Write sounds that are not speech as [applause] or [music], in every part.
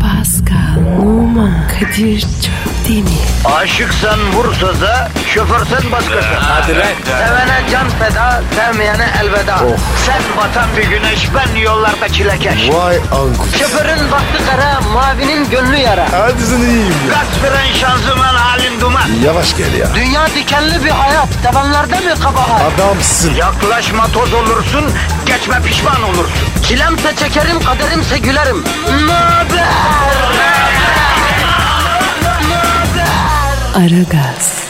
Pascal, Oman, Kadir çok değil mi? Aşıksan vursa da, şoförsen başkasın. Hadi lan. Oh. Sevene can feda, sevmeyene elveda. Sen batan bir güneş, ben yollarda çilekeş. Vay anku. Şoförün baktı kara, mavinin gönlü yara. Hadi sen iyiyim ya. Kasperen şanzıman halin duman. Yavaş gel ya. Dünya dikenli bir hayat, sevenlerde mi kabahar? Adamsın. Yaklaşma toz olursun, geçme pişman olursun. Çilemse çekerim, kaderimse gülerim. Möber! Aragaz,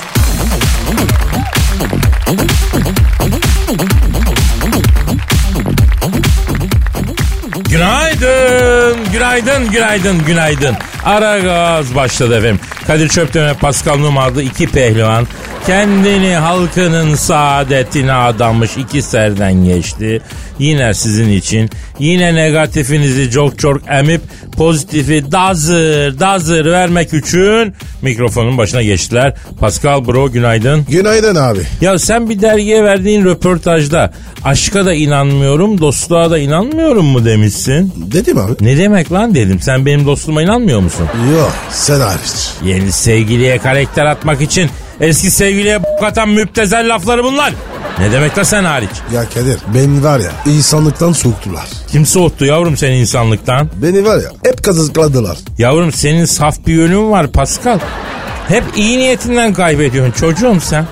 Günaydın, günaydın, günaydın, günaydın. Ara gaz başladı efendim. Kadir Çöpten ve Pascal Numa adlı iki pehlivan kendini halkının saadetine adamış iki serden geçti. Yine sizin için, yine negatifinizi çok çok emip pozitifi dazır dazır vermek için mikrofonun başına geçtiler. Pascal Bro günaydın. Günaydın abi. Ya sen bir dergiye verdiğin röportajda aşka da inanmıyorum, dostluğa da inanmıyorum mu demişsin? Dedim abi. Ne demek lan dedim. Sen benim dostluğuma inanmıyor musun? Yok sen hariç. Yeni sevgiliye karakter atmak için eski sevgiliye b- atan müptezel lafları bunlar. Ne demek la sen hariç? Ya Kadir beni var ya insanlıktan soğuttular. Kim soğuttu yavrum seni insanlıktan? Beni var ya hep kazıkladılar. Yavrum senin saf bir yönün var Pascal. Hep iyi niyetinden kaybediyorsun çocuğum sen.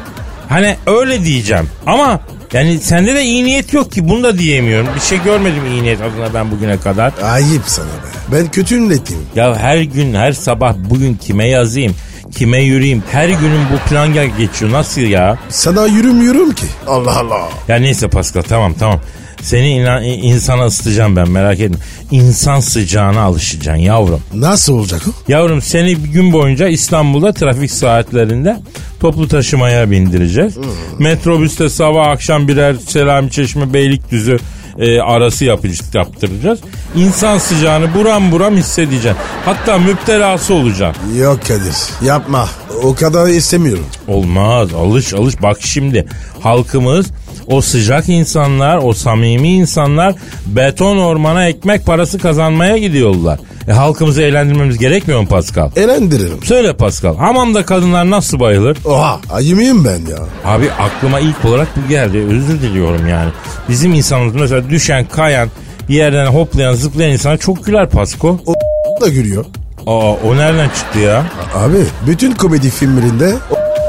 Hani öyle diyeceğim ama yani sende de iyi niyet yok ki bunu da diyemiyorum. Bir şey görmedim iyi niyet adına ben bugüne kadar. Ayıp sana be. Ben kötü ünletim. Ya her gün her sabah bugün kime yazayım kime yürüyeyim her günün bu plan gel- geçiyor nasıl ya? Sana yürüm yürüm ki. Allah Allah. Ya neyse Pascal tamam tamam. Seni inan, insana ısıtacağım ben merak etme. İnsan sıcağına alışacaksın yavrum. Nasıl olacak o? Yavrum seni bir gün boyunca İstanbul'da trafik saatlerinde toplu taşımaya bindireceğiz. Metrobüste sabah akşam birer Selami Çeşme Beylikdüzü e, arası yapıcı- yaptıracağız. İnsan sıcağını buram buram hissedeceksin. Hatta müptelası olacaksın. Yok Kadir yapma. O kadar istemiyorum. Olmaz alış alış bak şimdi halkımız o sıcak insanlar o samimi insanlar beton ormana ekmek parası kazanmaya gidiyorlar. E, halkımızı eğlendirmemiz gerekmiyor mu Pascal? E, Elendiririm. Söyle Pascal hamamda kadınlar nasıl bayılır? Oha ayı mıyım ben ya? Abi aklıma ilk olarak bu geldi özür diliyorum yani. Bizim insanımız mesela düşen kayan yerden hoplayan zıplayan insana çok güler Pasko. O da gülüyor. Aa o nereden çıktı ya? A- Abi bütün komedi filmlerinde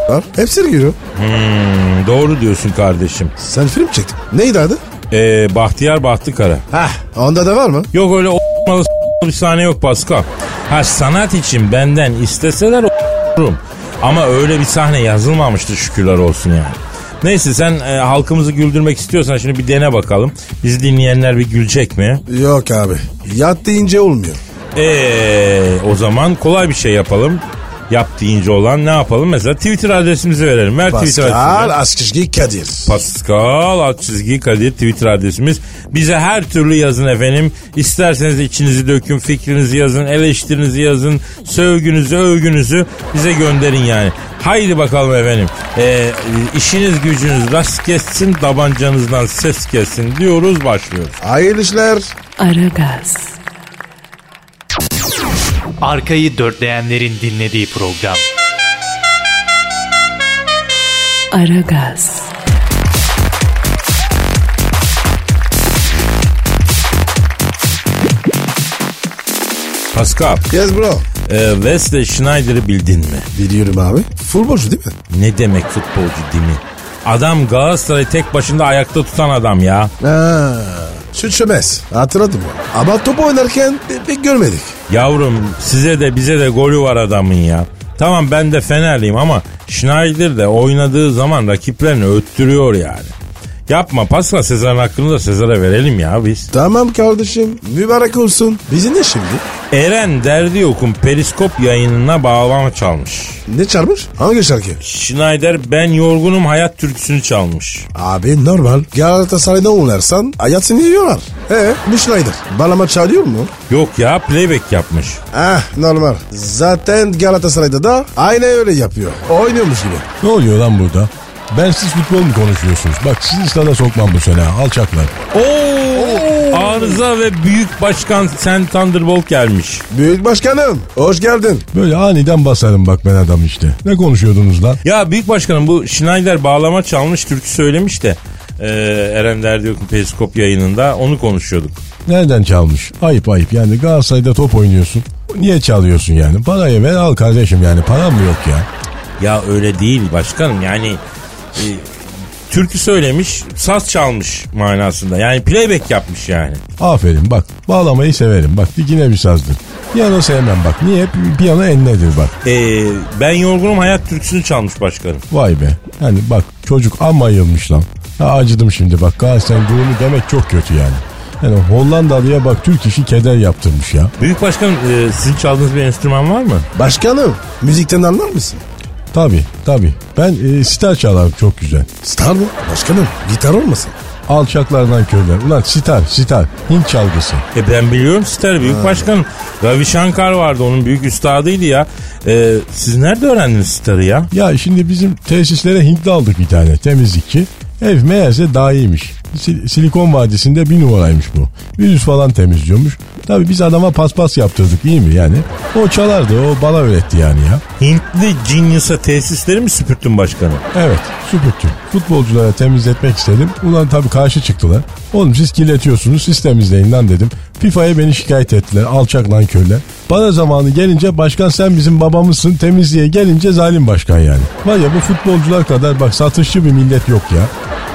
o [laughs] var. Hepsi gülüyor. Hmm, doğru diyorsun kardeşim. Sen film çektin. Neydi adı? Ee, Bahtiyar Bahtıkara. Heh. Onda da var mı? Yok öyle o**malı s**malı bir sahne yok Pascal. Ha sanat için benden isteseler o**rum. Ama öyle bir sahne yazılmamıştı şükürler olsun yani. Neyse sen e, halkımızı güldürmek istiyorsan şimdi bir dene bakalım. Bizi dinleyenler bir gülecek mi? Yok abi. Yat deyince [laughs] olmuyor. Eee o zaman kolay bir şey yapalım. Yap deyince olan ne yapalım? Mesela Twitter adresimizi verelim. Ver Twitter adresimizi. Pascal Askışki Kadir. Pascal alt çizgi Kadir Twitter adresimiz. Bize her türlü yazın efendim. İsterseniz içinizi dökün, fikrinizi yazın, eleştirinizi yazın, sövgünüzü, övgünüzü bize gönderin yani. Haydi bakalım efendim. Ee, işiniz gücünüz rast kessin, tabancanızdan ses kessin diyoruz başlıyoruz. Hayırlı işler. Aragaz, Arkayı dörtleyenlerin dinlediği program. Aragaz, Pascal, Yes bro. e, Wesley Schneider'ı bildin mi? Biliyorum abi. Futbolcu değil mi? Ne demek futbolcu değil mi? Adam Galatasaray'ı tek başında ayakta tutan adam ya. Ha. Süt çömez. Hatırladım ya. Ama top oynarken pe- pek görmedik. Yavrum size de bize de golü var adamın ya. Tamam ben de Fenerliyim ama Schneider de oynadığı zaman rakiplerini öttürüyor yani. Yapma Pascal Sezar'ın hakkını da Sezar'a verelim ya biz. Tamam kardeşim. Mübarek olsun. Bizi ne şimdi? Eren Derdi Yok'un periskop yayınına bağlama çalmış. Ne çarpmış? Hangi şarkı? Schneider ben yorgunum hayat türküsünü çalmış. Abi normal. Galatasaray'da oynarsan hayat seni yiyorlar. He, bu Schneider. Balama çalıyor mu? Yok ya playback yapmış. Ah normal. Zaten Galatasaray'da da aynı öyle yapıyor. Oynuyormuş gibi. Ne oluyor lan burada? Ben siz futbol mu konuşuyorsunuz? Bak sizi stada sokmam bu sene alçaklar. Oo, Arıza ve büyük başkan Sen Thunderbolt gelmiş. Büyük başkanım hoş geldin. Böyle aniden basarım bak ben adam işte. Ne konuşuyordunuz lan? Ya büyük başkanım bu Schneider bağlama çalmış türkü söylemiş de. e, Eren Derdiyok'un periskop yayınında onu konuşuyorduk. Nereden çalmış? Ayıp ayıp yani Galatasaray'da top oynuyorsun. Niye çalıyorsun yani? Parayı ver al kardeşim yani param mı yok ya? Ya öyle değil başkanım yani e, türkü söylemiş saz çalmış manasında yani playback yapmış yani. Aferin bak bağlamayı severim bak dikine bir sazdır. Piyano sevmem bak niye? Pi- Piyano enledir bak. E, ben yorgunum hayat türküsünü çalmış başkanım. Vay be yani bak çocuk amma yılmış lan. Ha, acıdım şimdi bak Galatasaray'ın durumu demek çok kötü yani. Yani Hollandalı'ya bak Türk işi keder yaptırmış ya. Büyük başkanım e, sizin çaldığınız bir enstrüman var mı? Başkanım müzikten anlar mısın? Tabi tabi ben e, sitar çalarım çok güzel. Star mı? Başkanım gitar olmasın? Alçaklardan körler. Ulan sitar sitar Hint çalgısı. E ben biliyorum Ster Büyük Başkanım. Ravi Shankar vardı onun büyük üstadıydı ya. E, siz nerede öğrendiniz Star'ı ya? Ya şimdi bizim tesislere Hintli aldık bir tane temizlikçi. Ev meğerse daha iyiymiş. Sil- Silikon Vadisi'nde bir numaraymış bu. Virüs falan temizliyormuş. Tabi biz adama paspas yaptırdık iyi mi yani? O çalardı o bala öğretti yani ya. Hintli genius'a tesisleri mi süpürttün başkanım? Evet süpürtüm. Futbolculara temizletmek istedim. Ulan tabii karşı çıktılar. Oğlum siz kirletiyorsunuz siz temizleyin lan dedim. FIFA'ya beni şikayet ettiler alçak lan körler. Bana zamanı gelince başkan sen bizim babamızsın temizliğe gelince zalim başkan yani. Var ya bu futbolcular kadar bak satışçı bir millet yok ya.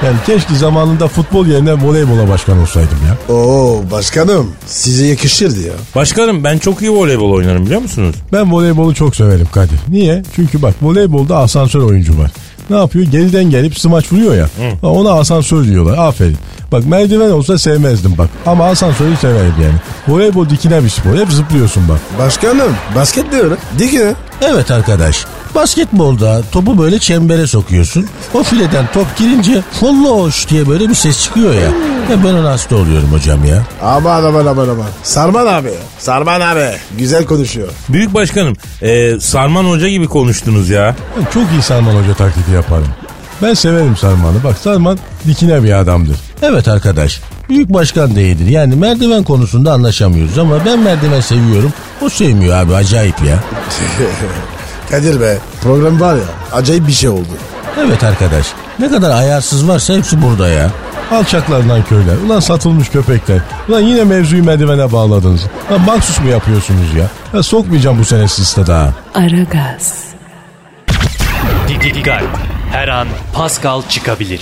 Yani keşke zamanında futbol yerine voleybola başkan olsaydım ya. Oo başkanım size yakışırdı ya. Başkanım ben çok iyi voleybol oynarım biliyor musunuz? Ben voleybolu çok severim Kadir. Niye? Çünkü bak voleybolda asansör oyuncu var. Ne yapıyor? Geriden gelip smaç vuruyor ya. Ha, Ona asansör diyorlar. Aferin. Bak merdiven olsa sevmezdim bak. Ama asansörü severim yani. Voleybol dikine bir spor. Hep zıplıyorsun bak. Başkanım basket diyorum. Dikine. Evet arkadaş. Basketbolda topu böyle çembere sokuyorsun. O fileden top girince holloş diye böyle bir ses çıkıyor ya. Ya ben ona hasta oluyorum hocam ya. Aman aman aman aman. Sarman abi. Sarman abi. Güzel konuşuyor. Büyük Başkanım e, Sarman Hoca gibi konuştunuz ya. Ben çok iyi Salman Hoca taklidi yaparım. Ben severim Salman'ı. Bak Salman dikine bir adamdır. Evet arkadaş. Büyük başkan değildir. Yani merdiven konusunda anlaşamıyoruz ama ben merdiven seviyorum. O sevmiyor abi acayip ya. Kadir be program var ya acayip bir şey oldu. Evet arkadaş. Ne kadar ayarsız varsa hepsi burada ya. Alçaklardan köyler. Ulan satılmış köpekler. Ulan yine mevzuyu merdivene bağladınız. Lan baksus mu yapıyorsunuz ya? Ya sokmayacağım bu sene sizi stada. Aragaz, Didi Digal. Her an Pascal çıkabilir.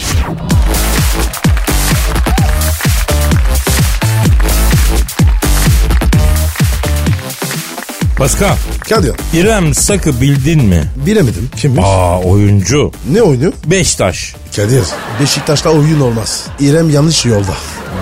Pascal Kadir İrem Sak'ı bildin mi? bilemedim. Kimmiş? Aa oyuncu. Ne oynuyor? Beştaş. Kadir Beşiktaş'ta oyun olmaz. İrem yanlış yolda.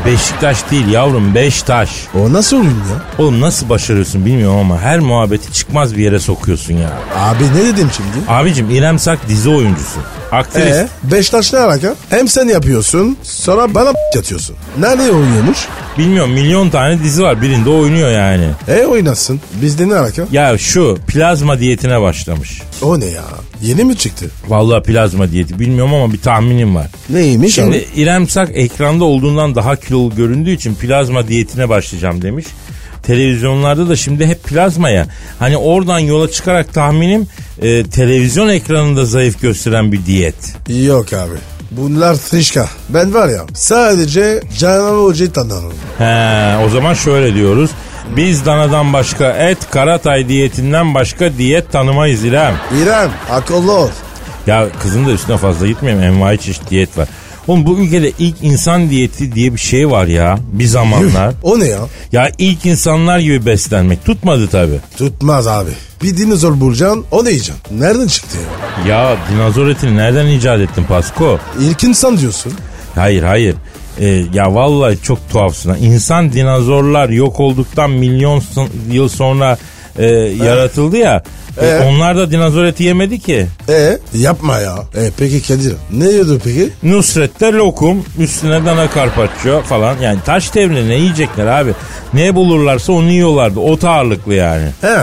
Beşiktaş değil yavrum Beştaş. O nasıl oyun ya? Oğlum nasıl başarıyorsun bilmiyorum ama her muhabbeti çıkmaz bir yere sokuyorsun ya. Abi ne dedim şimdi? Abicim İrem Sak dizi oyuncusu. Aktris. Ee, Beşiktaş ne alaka? Hem sen yapıyorsun sonra bana [laughs] yatıyorsun. Nerede oynuyormuş? Bilmiyorum milyon tane dizi var birinde oynuyor yani. E oynasın. Bizde ne alaka? Ya şu plazma diyetine başlamış. O ne ya? Yeni mi çıktı? Vallahi plazma diyeti bilmiyorum ama bir tahminim var. Neymiş Şimdi abi? İrem Sak ekranda olduğundan daha kilolu göründüğü için plazma diyetine başlayacağım demiş. Televizyonlarda da şimdi hep plazma ya. Hani oradan yola çıkarak tahminim e, televizyon ekranında zayıf gösteren bir diyet. Yok abi. Bunlar trişka. Ben var ya sadece Canan Hoca'yı tanırım. He, o zaman şöyle diyoruz. Biz danadan başka et, karatay diyetinden başka diyet tanımayız İrem. İrem akıllı ol. Ya kızın da üstüne fazla gitmeyeyim. Envai çeşit diyet var. Oğlum bu ülkede ilk insan diyeti diye bir şey var ya bir zamanlar. O ne ya? ya ilk insanlar gibi beslenmek tutmadı tabi. Tutmaz abi. Bir dinozor bulacaksın o ne yiyeceksin? Nereden çıktı ya? Ya dinozor etini nereden icat ettin Pasko? İlk insan diyorsun. Hayır hayır. Ee, ya vallahi çok tuhafsın. ha. İnsan dinozorlar yok olduktan milyon son- yıl sonra e, yaratıldı ya. E, Ee? onlar da dinozor eti yemedi ki. E yapma ya. E peki Kadir ne yiyordu peki? Nusret'te lokum, üstüne dana karpaccio falan. Yani taş devri ne yiyecekler abi? Ne bulurlarsa onu yiyorlardı. Ot ağırlıklı yani. He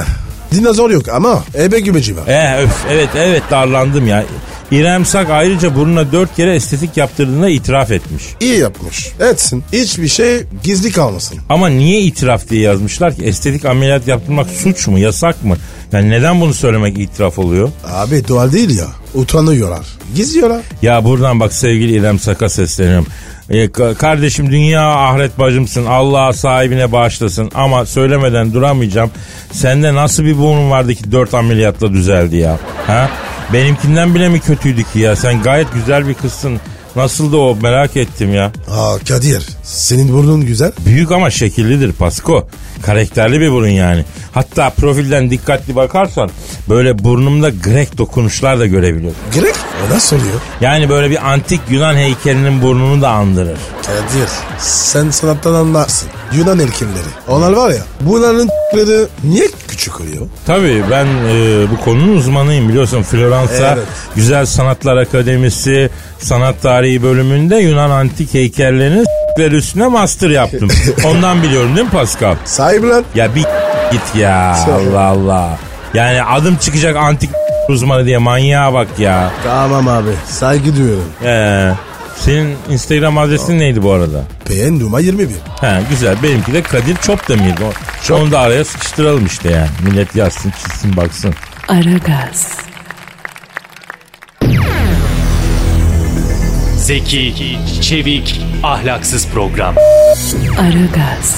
dinozor yok ama ebe gümeci var. Eh öf, evet evet darlandım ya. İrem Sak ayrıca burnuna dört kere estetik yaptırdığına itiraf etmiş. İyi yapmış. Etsin. Hiçbir şey gizli kalmasın. Ama niye itiraf diye yazmışlar ki? Estetik ameliyat yaptırmak suç mu, yasak mı? Yani neden bunu söylemek itiraf oluyor? Abi doğal değil ya. Utanıyorlar. Gizliyorlar. Ya buradan bak sevgili İrem Sak'a sesleniyorum. E, ka- kardeşim dünya ahiret bacımsın. Allah sahibine bağışlasın. Ama söylemeden duramayacağım. Sende nasıl bir burnun vardı ki dört ameliyatla düzeldi ya? Ha? Benimkinden bile mi kötüydü ki ya? Sen gayet güzel bir kızsın. Nasıl da o merak ettim ya. Aa Kadir senin burnun güzel. Büyük ama şekillidir Pasko. Karakterli bir burun yani. Hatta profilden dikkatli bakarsan böyle burnumda Grek dokunuşlar da görebiliyorum. Gerek o nasıl oluyor? Yani böyle bir antik Yunan heykelinin burnunu da andırır. Kadir sen sanattan anlarsın. Yunan erkekleri. Onlar var ya bunların ***leri niye küçük oluyor? Tabii ben e, bu konunun uzmanıyım biliyorsun. Floransa Evet. Güzel Sanatlar Akademisi Sanat Tarihi bölümünde Yunan antik heykellerinin s**leri üstüne master yaptım. Ondan biliyorum değil mi Pascal? Sahibi lan. Ya bir git ya Allah Allah. Yani adım çıkacak antik uzmanı diye manyağa bak ya. Tamam abi saygı duyuyorum. Ee, senin Instagram adresin neydi bu arada? PN Numa 21. He güzel benimki de Kadir Çopdemir. O- Onu da araya sıkıştıralım işte yani. Millet yazsın çizsin baksın. Aragaz, Zeki, çevik, ahlaksız program. Aragaz,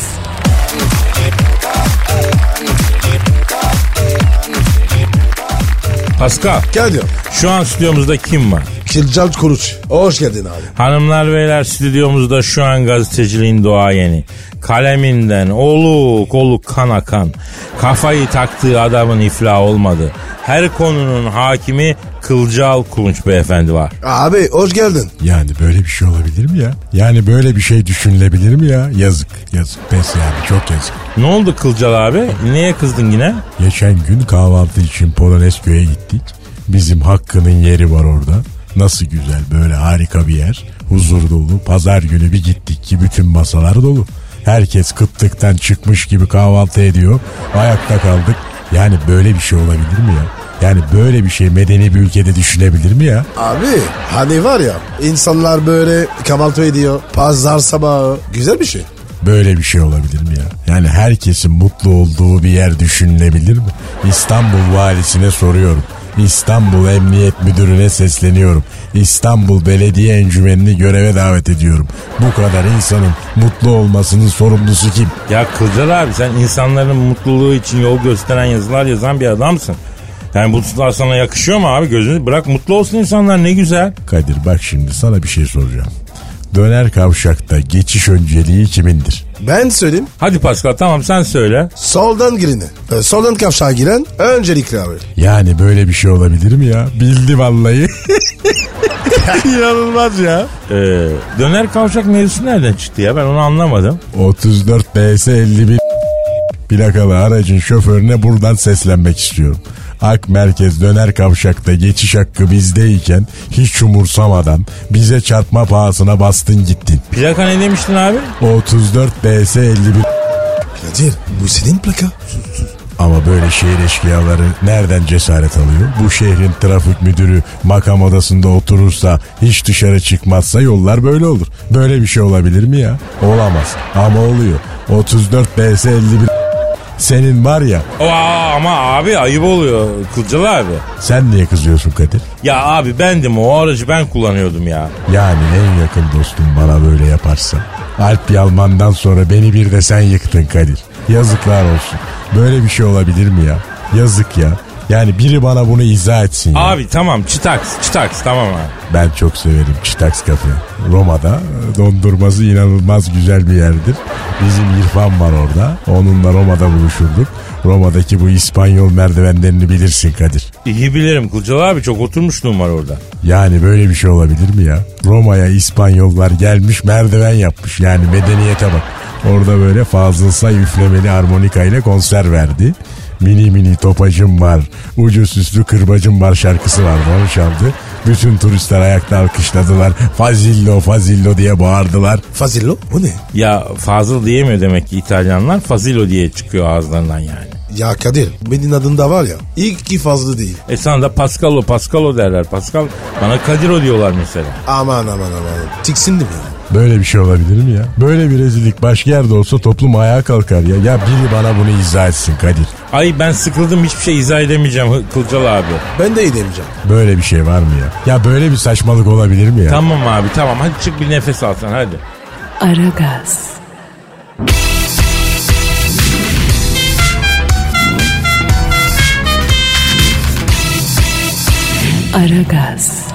Pascal Kadir. şu an stüdyomuzda kim var? Kircal Kuruç. Hoş geldin abi. Hanımlar beyler stüdyomuzda şu an gazeteciliğin doğayeni. Kaleminden oluk oluk kan akan. Kafayı taktığı adamın iflah olmadı. Her konunun hakimi Kılcal Kulunç beyefendi var. Abi hoş geldin. Yani böyle bir şey olabilir mi ya? Yani böyle bir şey düşünülebilir mi ya? Yazık yazık pes yani çok yazık. Ne oldu Kılcal abi? Niye kızdın yine? Geçen gün kahvaltı için Polonezköy'e gittik. Bizim Hakkı'nın yeri var orada. Nasıl güzel böyle harika bir yer. Huzur dolu. Pazar günü bir gittik ki bütün masalar dolu. Herkes kıtlıktan çıkmış gibi kahvaltı ediyor. Ayakta kaldık. Yani böyle bir şey olabilir mi ya? Yani böyle bir şey medeni bir ülkede düşünebilir mi ya? Abi hani var ya insanlar böyle kahvaltı ediyor. Pazar sabahı. Güzel bir şey. Böyle bir şey olabilir mi ya? Yani herkesin mutlu olduğu bir yer düşünülebilir mi? İstanbul valisine soruyorum. İstanbul Emniyet Müdürü'ne sesleniyorum. İstanbul Belediye Encümeni'ni göreve davet ediyorum. Bu kadar insanın mutlu olmasının sorumlusu kim? Ya Kılcal abi sen insanların mutluluğu için yol gösteren yazılar yazan bir adamsın. Yani bu tutlar sana yakışıyor mu abi? Gözünü bırak mutlu olsun insanlar ne güzel. Kadir bak şimdi sana bir şey soracağım. Döner kavşakta geçiş önceliği kimindir? Ben söyleyeyim. Hadi Pascal tamam sen söyle. Soldan gireni. e, soldan kavşağa giren öncelikli abi. Yani böyle bir şey olabilir mi ya? Bildi vallahi. İnanılmaz ya. Ee, döner kavşak mevzusu nereden çıktı ya ben onu anlamadım. 34 BS 51 plakalı aracın şoförüne buradan seslenmek istiyorum. Ak merkez döner kavşakta geçiş hakkı bizdeyken hiç umursamadan bize çarpma pahasına bastın gittin. Plaka ne demiştin abi? 34 BS 51 Kadir bu senin plaka. ama böyle şehir eşkıyaları nereden cesaret alıyor? Bu şehrin trafik müdürü makam odasında oturursa, hiç dışarı çıkmazsa yollar böyle olur. Böyle bir şey olabilir mi ya? Olamaz ama oluyor. 34 BS 51 senin var ya Aa, ama abi ayıp oluyor Kılcal abi. Sen niye kızıyorsun Kadir? Ya abi bendim o aracı ben kullanıyordum ya. Yani en yakın dostum bana böyle yaparsa. Alp Yalman'dan sonra beni bir de sen yıktın Kadir. Yazıklar olsun. Böyle bir şey olabilir mi ya? Yazık ya. Yani biri bana bunu izah etsin ya. Abi tamam çıtaks çıtaks tamam abi. Ben çok severim Çitaks Kafe. Roma'da e, dondurması inanılmaz güzel bir yerdir. Bizim İrfan var orada. Onunla Roma'da buluşurduk. Roma'daki bu İspanyol merdivenlerini bilirsin Kadir. İyi bilirim Kılcal abi çok oturmuşluğum var orada. Yani böyle bir şey olabilir mi ya? Roma'ya İspanyollar gelmiş merdiven yapmış. Yani medeniyete bak. Orada böyle Fazıl Say üflemeli harmonika ile konser verdi. Mini mini topacım var, ucu süslü kırbacım var şarkısı vardı onu çaldı. Bütün turistler ayakta alkışladılar. Fazillo Fazillo diye bağırdılar. Fazillo bu ne? Ya fazıl diyemiyor demek ki İtalyanlar. Fazilo diye çıkıyor ağızlarından yani. Ya Kadir benim adımda var ya ilk ki fazla değil. E sana da Pascalo Pascalo derler. Pascal bana Kadiro diyorlar mesela. Aman aman aman. Tiksindim ya. Böyle bir şey olabilir mi ya? Böyle bir rezillik başka yerde olsa toplum ayağa kalkar ya. Ya biri bana bunu izah etsin Kadir. Ay ben sıkıldım hiçbir şey izah edemeyeceğim Hı- Kılcal abi. Ben de iyi demeyeceğim. Böyle bir şey var mı ya? Ya böyle bir saçmalık olabilir mi ya? Tamam abi tamam hadi çık bir nefes alsan hadi. Aragaz, Aragaz,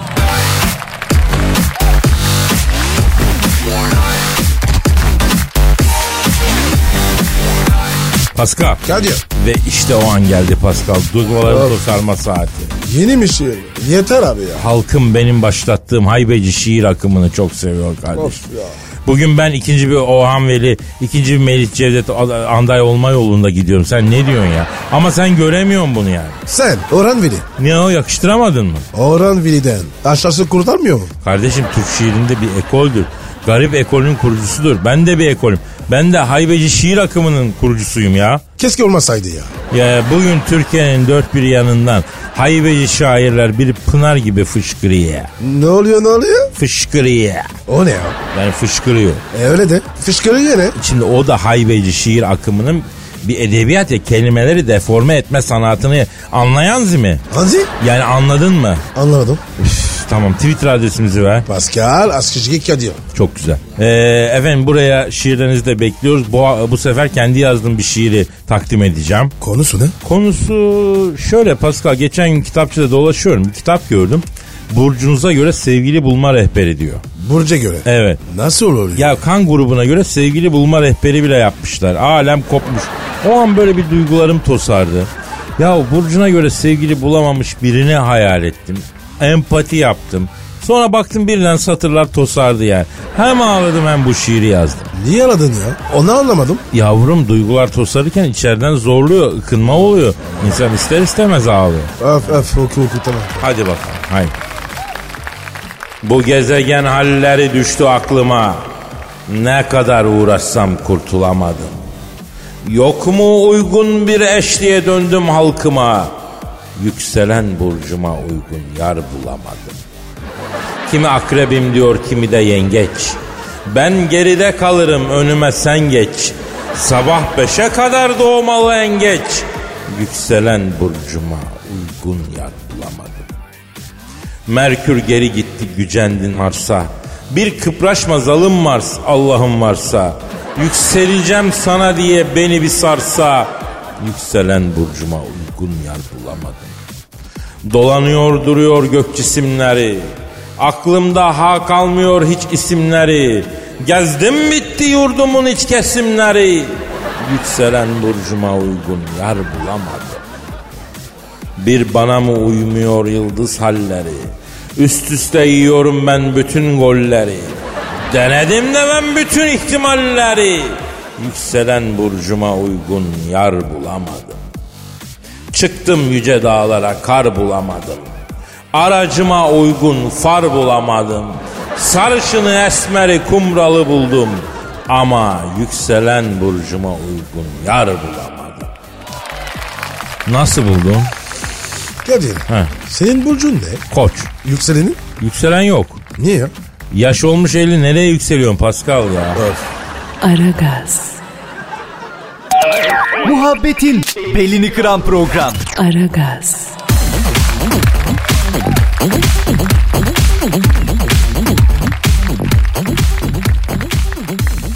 Pascal. Kadir Ve işte o an geldi Pascal. Duyguların tosarma saati. yeni bir şey. Yeter abi ya. Halkım benim başlattığım haybeci şiir akımını çok seviyor kardeşim. Of ya. Bugün ben ikinci bir Orhan Veli, ikinci bir Melih Cevdet A- Anday olma yolunda gidiyorum. Sen ne diyorsun ya? Ama sen göremiyorsun bunu yani. Sen Orhan Veli. Ne o yakıştıramadın mı? Orhan Veli'den aşağısı kurtarmıyor mu? Kardeşim Türk şiirinde bir ekoldür. Garip ekolün kurucusudur. Ben de bir ekolüm. Ben de haybeci şiir akımının kurucusuyum ya. Keşke olmasaydı ya. Ya bugün Türkiye'nin dört bir yanından haybeci şairler bir pınar gibi fışkırıyor. Ne oluyor ne oluyor? Fışkırıyor. O ne ya? Yani fışkırıyor. E öyle de. Fışkırıyor ne? Şimdi o da haybeci şiir akımının bir edebiyat ya kelimeleri deforme etme sanatını anlayan zimi. Hanzi? Yani anladın mı? Anlamadım. Üf, tamam Twitter adresimizi ver. Pascal Askışgi Kadir. Çok güzel. Ee, efendim buraya şiirlerinizi de bekliyoruz. Bu, bu sefer kendi yazdığım bir şiiri takdim edeceğim. Konusu ne? Konusu şöyle Pascal. Geçen gün kitapçıda dolaşıyorum. Bir kitap gördüm. Burcunuza göre sevgili bulma rehberi diyor. Burca göre. Evet. Nasıl olur? Ya kan grubuna göre sevgili bulma rehberi bile yapmışlar. Alem kopmuş. O an böyle bir duygularım tosardı. Ya Burcu'na göre sevgili bulamamış birini hayal ettim. Empati yaptım. Sonra baktım birden satırlar tosardı yani. Hem ağladım hem bu şiiri yazdım. Niye aradın ya? Onu anlamadım. Yavrum duygular tosarırken içeriden zorluyor, ıkınma oluyor. İnsan ister istemez ağlıyor. Öf öf oku oku tamam. Hadi bakalım. Haydi. Bu gezegen halleri düştü aklıma. Ne kadar uğraşsam kurtulamadım. Yok mu uygun bir eş diye döndüm halkıma. Yükselen burcuma uygun yar bulamadım. Kimi akrebim diyor kimi de yengeç. Ben geride kalırım önüme sen geç. Sabah beşe kadar doğmalı en geç. Yükselen burcuma uygun yar bulamadım. Merkür geri gitti gücendin Mars'a. Bir kıpraşma zalim Mars Allah'ım varsa. Yükseleceğim sana diye beni bir sarsa. Yükselen burcuma uygun yer bulamadım. Dolanıyor duruyor gök cisimleri. Aklımda ha kalmıyor hiç isimleri. Gezdim bitti yurdumun iç kesimleri. Yükselen burcuma uygun yer bulamadım. Bir bana mı uymuyor yıldız halleri? Üst üste yiyorum ben bütün golleri. Denedim de ben bütün ihtimalleri. Yükselen burcuma uygun yar bulamadım. Çıktım yüce dağlara kar bulamadım. Aracıma uygun far bulamadım. Sarışını esmeri kumralı buldum. Ama yükselen burcuma uygun yar bulamadım. Nasıl buldun? Kadir. He. Senin burcun ne? Koç. Yükselenin? Yükselen yok. Niye ya? Yaş olmuş 50 nereye yükseliyorsun Pascal ya? Aragaz, Muhabbetin belini kıran program. Aragaz,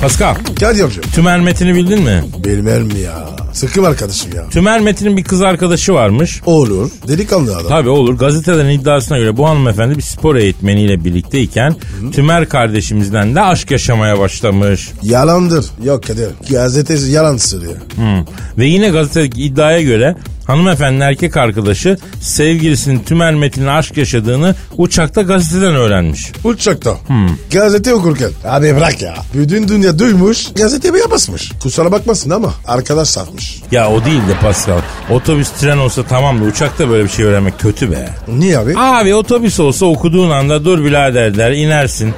Pascal, Kadir'cim. Tümer Metin'i bildin mi? Bilmem mi ya? Sıkım arkadaşım ya. Tümer Metin'in bir kız arkadaşı varmış. Olur. Delikanlı adam. Tabii olur. Gazetelerin iddiasına göre bu hanımefendi bir spor eğitmeniyle birlikteyken Tümer kardeşimizden de aşk yaşamaya başlamış. Yalandır. Yok Kadir. Gazetesi yalan söylüyor. Hı. Ve yine gazete iddiaya göre hanımefendinin erkek arkadaşı sevgilisinin Tümer Metin'le aşk yaşadığını uçakta gazeteden öğrenmiş. Uçakta. Gazete okurken. Abi bırak ya. Bütün dünya duymuş. Gazete mi yapasmış? Kusura bakmasın ama arkadaş satmış. olmuş. Ya o değil de Pascal. Otobüs tren olsa tamam da uçakta böyle bir şey öğrenmek kötü be. Niye abi? Abi otobüs olsa okuduğun anda dur birader der inersin.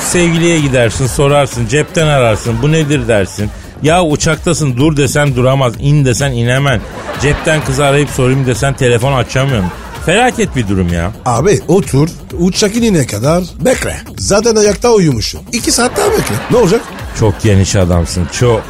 Sevgiliye gidersin sorarsın cepten ararsın bu nedir dersin. Ya uçaktasın dur desen duramaz in desen inemen. Cepten kızı arayıp sorayım desen telefon açamıyorum. Felaket bir durum ya. Abi otur uçak inene kadar bekle. Zaten ayakta uyumuşum. İki saat daha bekle. Ne olacak? Çok geniş adamsın çok.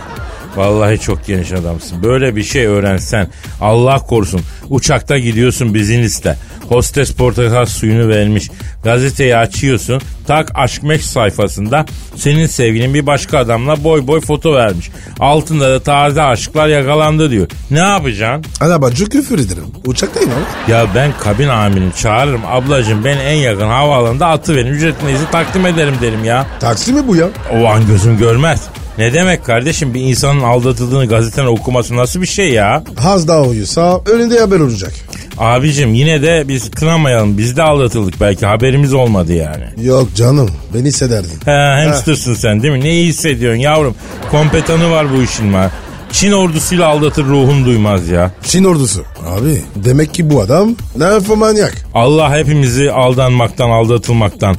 Vallahi çok geniş adamsın. Böyle bir şey öğrensen Allah korusun. Uçakta gidiyorsun bizinizle. Hostes portakal suyunu vermiş. Gazeteyi açıyorsun. Tak aşk meşk sayfasında senin sevgilin bir başka adamla boy boy foto vermiş. Altında da taze aşklar yakalandı diyor. Ne yapacaksın? Arabacı küfür ederim. Uçaktayım abi. Ya ben kabin amirini çağırırım. Ablacığım ben en yakın havaalanında atıverin. Ücretinizi takdim ederim derim ya. Taksi mi bu ya? O an gözüm görmez. Ne demek kardeşim bir insanın aldatıldığını gazeteden okuması nasıl bir şey ya? Az daha uyusa önünde haber olacak. Abicim yine de biz kınamayalım. Biz de aldatıldık belki haberimiz olmadı yani. Yok canım beni hissederdin. He hamstersın sen değil mi? Neyi hissediyorsun yavrum? Kompetanı var bu işin var. Çin ordusuyla aldatır ruhun duymaz ya. Çin ordusu. Abi demek ki bu adam nerfomanyak. Allah hepimizi aldanmaktan, aldatılmaktan,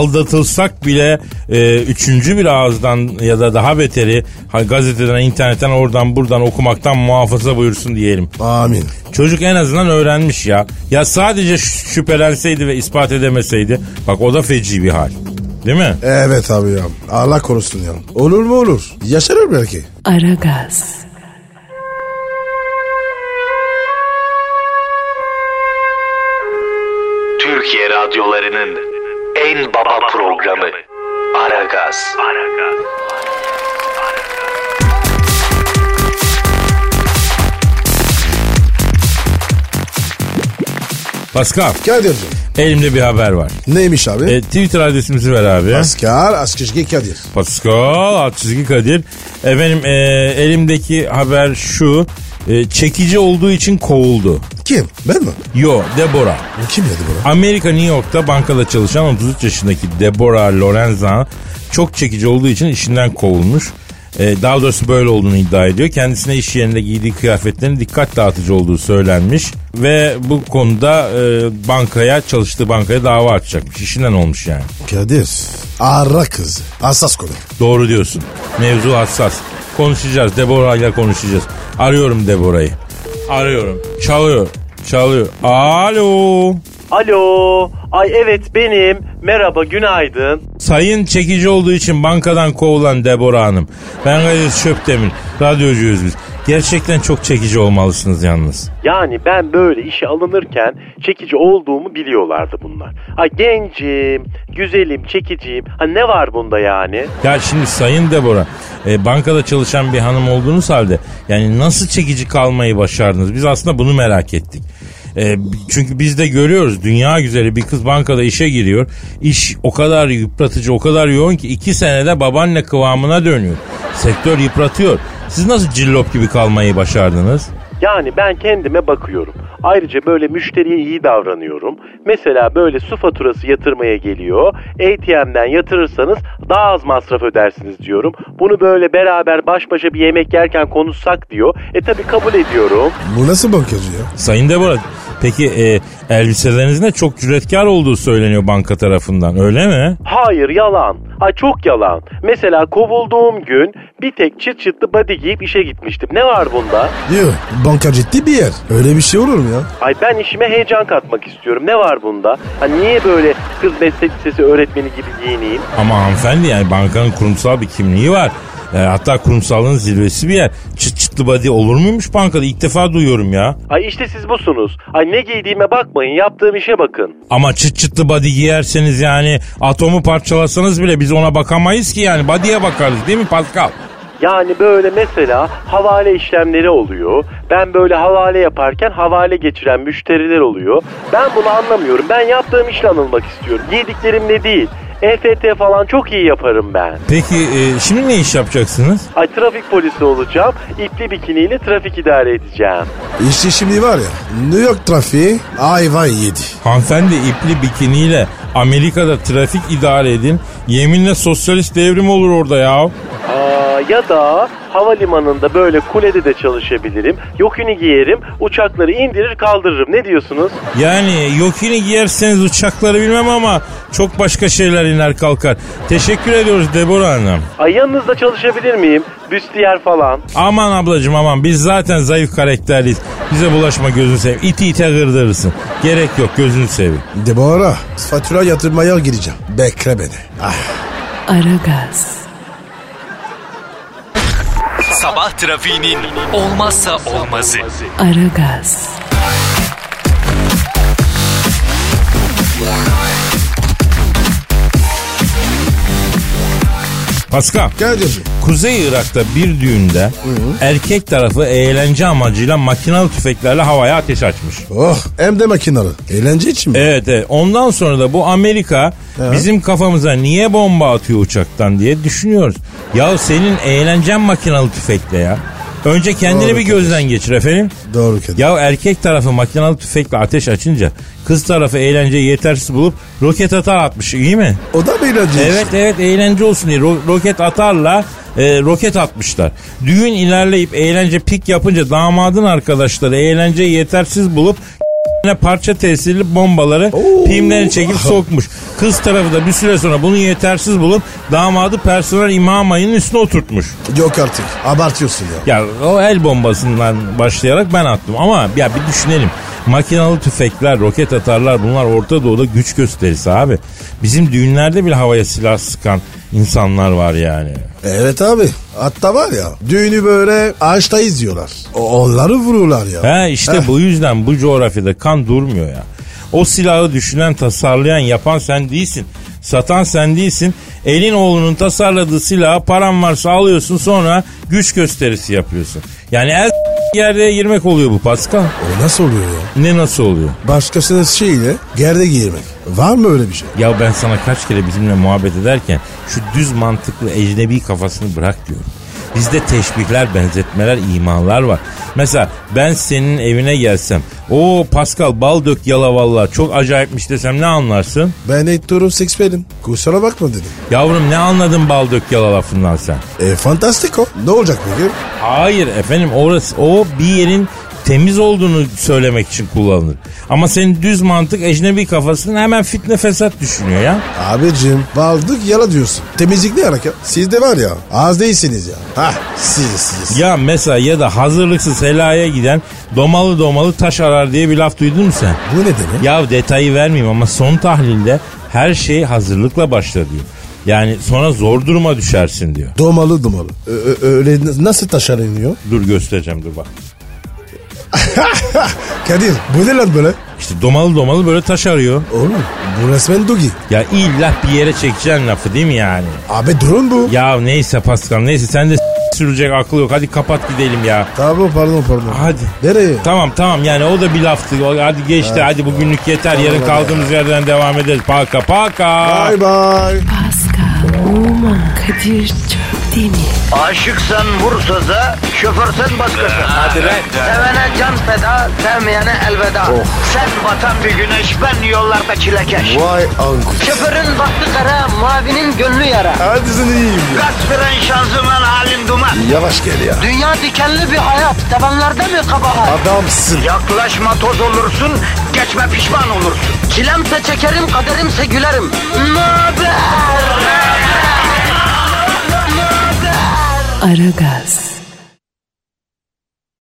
aldatılsak bile e, üçüncü bir ağızdan ya da daha beteri ha, gazeteden, internetten, oradan buradan okumaktan muhafaza buyursun diyelim. Amin. Çocuk en azından öğrenmiş ya. Ya sadece şü- şüphelenseydi ve ispat edemeseydi. Bak o da feci bir hal. Değil mi? Evet abi ya. Allah korusun ya. Olur mu olur. Yaşarır belki. Aragaz. Türkiye radyolarının en baba programı Aragaz. Pascal Kadir'cim. elimde bir haber var. Neymiş abi? E, Twitter adresimizi ver abi. Asker, Askışki Kadir. Pascal alt çizgi Kadir. Efendim e, elimdeki haber şu. E, çekici olduğu için kovuldu. Kim? Ben mi? Yo Deborah. Kim dedi bunu? Amerika New York'ta bankada çalışan 33 yaşındaki Deborah Lorenza çok çekici olduğu için işinden kovulmuş. Ee, daha doğrusu böyle olduğunu iddia ediyor. Kendisine iş yerinde giydiği kıyafetlerin dikkat dağıtıcı olduğu söylenmiş. Ve bu konuda e, bankaya çalıştığı bankaya dava açacakmış. İşinden olmuş yani. Kadir. Ara kız. Hassas konu. Doğru diyorsun. Mevzu hassas. Konuşacağız. Deborah'la konuşacağız. Arıyorum Deborah'ı. Arıyorum. Çalıyor. Çalıyor. Alo. Alo. Ay evet benim. Merhaba günaydın. Sayın çekici olduğu için bankadan kovulan Deborah Hanım. Ben Kadir Şöpdemir. Radyocuyuz biz. Gerçekten çok çekici olmalısınız yalnız. Yani ben böyle işe alınırken çekici olduğumu biliyorlardı bunlar. Ay gencim, güzelim, çekiciyim. Ha ne var bunda yani? Ya şimdi Sayın Deborah, e, bankada çalışan bir hanım olduğunuz halde yani nasıl çekici kalmayı başardınız? Biz aslında bunu merak ettik. E, çünkü biz de görüyoruz dünya güzeli bir kız bankada işe giriyor. İş o kadar yıpratıcı, o kadar yoğun ki iki senede babaanne kıvamına dönüyor. Sektör yıpratıyor. Siz nasıl cillop gibi kalmayı başardınız? Yani ben kendime bakıyorum. Ayrıca böyle müşteriye iyi davranıyorum. Mesela böyle su faturası yatırmaya geliyor. ATM'den yatırırsanız daha az masraf ödersiniz diyorum. Bunu böyle beraber baş başa bir yemek yerken konuşsak diyor. E tabi kabul ediyorum. Bu nasıl bankacı ya? Sayın Deborah peki e, elbiselerinizin de çok cüretkar olduğu söyleniyor banka tarafından öyle mi? Hayır yalan. Ay çok yalan. Mesela kovulduğum gün bir tek çıt çıtlı body giyip işe gitmiştim. Ne var bunda? Yok. Banka ciddi bir yer. Öyle bir şey olur mu ya? Ay ben işime heyecan katmak istiyorum. Ne var bunda? Ha niye böyle kız meslek lisesi öğretmeni gibi giyineyim? Ama hanımefendi yani bankanın kurumsal bir kimliği var. E, hatta kurumsallığın zirvesi bir yer. Çıt çıtlı body olur muymuş bankada? İlk defa duyuyorum ya. Ay işte siz busunuz. Ay ne giydiğime bakmayın, yaptığım işe bakın. Ama çıt çıtlı body giyerseniz yani atomu parçalasanız bile biz ona bakamayız ki yani. Body'ye bakarız değil mi Pascal? Yani böyle mesela havale işlemleri oluyor. Ben böyle havale yaparken havale geçiren müşteriler oluyor. Ben bunu anlamıyorum. Ben yaptığım işle anılmak istiyorum. Giydiklerimle değil. EFT falan çok iyi yaparım ben. Peki e, şimdi ne iş yapacaksınız? Ay trafik polisi olacağım. İpli bikiniyle trafik idare edeceğim. İşte şimdi var ya. New York trafiği ayva yedi. Hanımefendi ipli bikiniyle Amerika'da trafik idare edin. Yeminle sosyalist devrim olur orada ya. Aa ya da havalimanında böyle kulede de çalışabilirim. Yokini giyerim, uçakları indirir kaldırırım. Ne diyorsunuz? Yani yokini giyerseniz uçakları bilmem ama çok başka şeyler iner kalkar. Teşekkür ediyoruz Debora Hanım. Ay yanınızda çalışabilir miyim? Büstiyer falan. Aman ablacım aman biz zaten zayıf karakterliyiz. Bize bulaşma gözünü seveyim. İti ite kırdırırsın. Gerek yok gözünü seveyim. Debora fatura yatırmaya gireceğim. Bekle beni. Ah. Aragaz, Sabah trafiğinin olmazsa olmazı. Aragaz, Pascal. Gel diyorum. Kuzey Irak'ta bir düğünde erkek tarafı eğlence amacıyla makinalı tüfeklerle havaya ateş açmış. Oh hem de makinalı. Eğlence için mi? Evet, evet. Ondan sonra da bu Amerika bizim kafamıza niye bomba atıyor uçaktan diye düşünüyoruz. Ya senin eğlencen makinalı tüfekle ya. Önce kendini Doğru bir gözden geçir efendim. Doğru kedi. Ya erkek tarafı makinalı tüfekle ateş açınca kız tarafı eğlenceyi yetersiz bulup roket atar atmış iyi mi? O da mı eğlence Evet için? evet eğlence olsun diye ro- roket atarla e, roket atmışlar. Düğün ilerleyip eğlence pik yapınca damadın arkadaşları eğlenceyi yetersiz bulup [laughs] parça tesirli bombaları pimlerini çekip sokmuş. Kız tarafı da bir süre sonra bunu yetersiz bulup damadı personel imam ayının üstüne oturtmuş. Yok artık abartıyorsun ya. Ya o el bombasından başlayarak ben attım ama ya bir düşünelim. Makinalı tüfekler, roket atarlar bunlar Orta Doğu'da güç gösterisi abi. Bizim düğünlerde bile havaya silah sıkan insanlar var yani. Evet abi. Hatta var ya düğünü böyle ağaçta izliyorlar. O- Onları vuruyorlar ya. He işte Heh. bu yüzden bu coğrafyada kan durmuyor ya. O silahı düşünen, tasarlayan, yapan sen değilsin. Satan sen değilsin. Elin oğlunun tasarladığı silahı paran varsa alıyorsun sonra güç gösterisi yapıyorsun. Yani el [laughs] yerde girmek oluyor bu Pascal. O nasıl oluyor ya? Ne nasıl oluyor? Başkasının şeyiyle gerde giymek. Var mı öyle bir şey? Ya ben sana kaç kere bizimle muhabbet ederken şu düz mantıklı ecnebi kafasını bırak diyorum. Bizde teşbihler, benzetmeler, imalar var. Mesela ben senin evine gelsem, o Pascal bal dök yala valla çok acayipmiş desem ne anlarsın? Ben Hector'un seks verin. Kusura bakma dedim. Yavrum ne anladın bal dök yala lafından sen? E fantastik o. Ne olacak bugün? Hayır efendim orası o bir yerin temiz olduğunu söylemek için kullanılır. Ama senin düz mantık ecnebi kafasını hemen fitne fesat düşünüyor ya. Abicim baldık yala diyorsun. Temizlik ne hareket? Siz de var ya az değilsiniz ya. Ha siz siz. Ya mesela ya da hazırlıksız helaya giden domalı domalı taş arar diye bir laf duydun mu sen? Bu ne demek? Ya detayı vermeyeyim ama son tahlilde her şey hazırlıkla başla diyor. Yani sonra zor duruma düşersin diyor. Domalı domalı. Ö- ö- öyle n- nasıl taşlanıyor? Dur göstereceğim dur bak. [laughs] Kadir bu ne lan böyle? İşte domalı domalı böyle taş arıyor. Oğlum bu resmen dugi. Ya illa bir yere çekeceksin lafı değil mi yani? Abi drone bu. Ya neyse Pascal neyse sen de s- sürecek akıl yok. Hadi kapat gidelim ya. Tamam pardon pardon. Hadi. Nereye? Tamam tamam yani o da bir laftı. O- Hadi geçti hadi bugünlük yeter. Yarın kaldığımız yerden devam ederiz. Paka paka. Bye bye. Pascal, Oman, Kadir çok değil mi? Aşıksan vursa da şoförsen başkasın. Hadi lan. Sevene can feda, sevmeyene elveda. Sen batan bir güneş, ben yollarda çilekeş. Vay anku. Şoförün baktı kara, mavinin gönlü yara. Hadi sen iyiyim ya. Kasperen şanzıman halin duman. Yavaş gel ya. Dünya dikenli bir hayat, sevenlerde mi kabahar? Adamsın. Yaklaşma toz olursun, geçme pişman olursun. Çilemse çekerim, kaderimse gülerim. Möber! Aragaz.